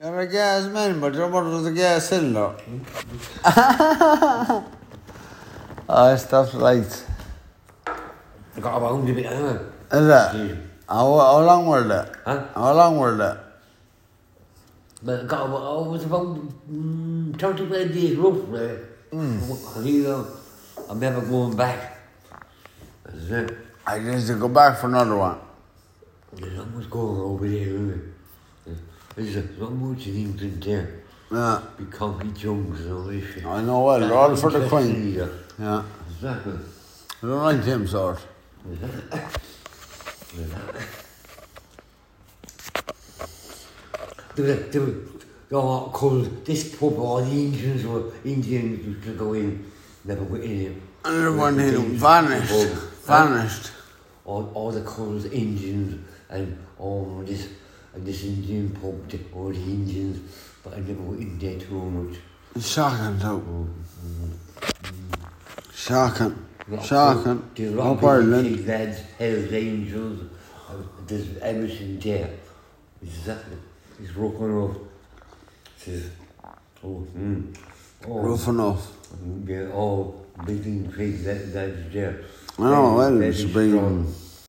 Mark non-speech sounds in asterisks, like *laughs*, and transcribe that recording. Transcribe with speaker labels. Speaker 1: Ja men gasman, but jag bara trodde gasen *laughs* då. Ah, stuff lights.
Speaker 2: Kau abang aku jepit kan?
Speaker 1: അല്ല
Speaker 2: ഉം.
Speaker 1: അവ- അവളങ്ങോട്ട്
Speaker 2: ആ?
Speaker 1: അവളങ്ങോട്ട്
Speaker 2: Kau abang aku sebab Kau tu pada dia roof lah Hari tu I'm never going back That's it
Speaker 1: I just to go back for another one.
Speaker 2: There's almost going over there isn't it? There's so much things in there
Speaker 1: Yeah.
Speaker 2: Become he junks and all this shit
Speaker 1: I know well, they're all for the queen.
Speaker 2: Yeah.
Speaker 1: Yeah.
Speaker 2: Exactly
Speaker 1: I don't like him sort.
Speaker 2: There were, there were, they were called this pub, all the Indians were, Indians used to go in, never went in it.
Speaker 1: And everyone
Speaker 2: They
Speaker 1: here
Speaker 2: used to
Speaker 1: vanished.
Speaker 2: go, huh?
Speaker 1: Vanished.
Speaker 2: All, all the colours Indians and all this, and this Indian pub, the- all the Indians, but I never went in there too much.
Speaker 1: Shocking too. Shocking.
Speaker 2: Rock-
Speaker 1: Shocking.
Speaker 2: The
Speaker 1: Up
Speaker 2: Rock
Speaker 1: Ireland.
Speaker 2: Big Lads, Hells Angels, uh, there's everything there. Exactly. It's rock and roll. It is- oh, mm, oh,
Speaker 1: Roof enough.
Speaker 2: They're all big and crazy that, that's there.
Speaker 1: Oh, well,
Speaker 2: Very
Speaker 1: it's been-
Speaker 2: strong.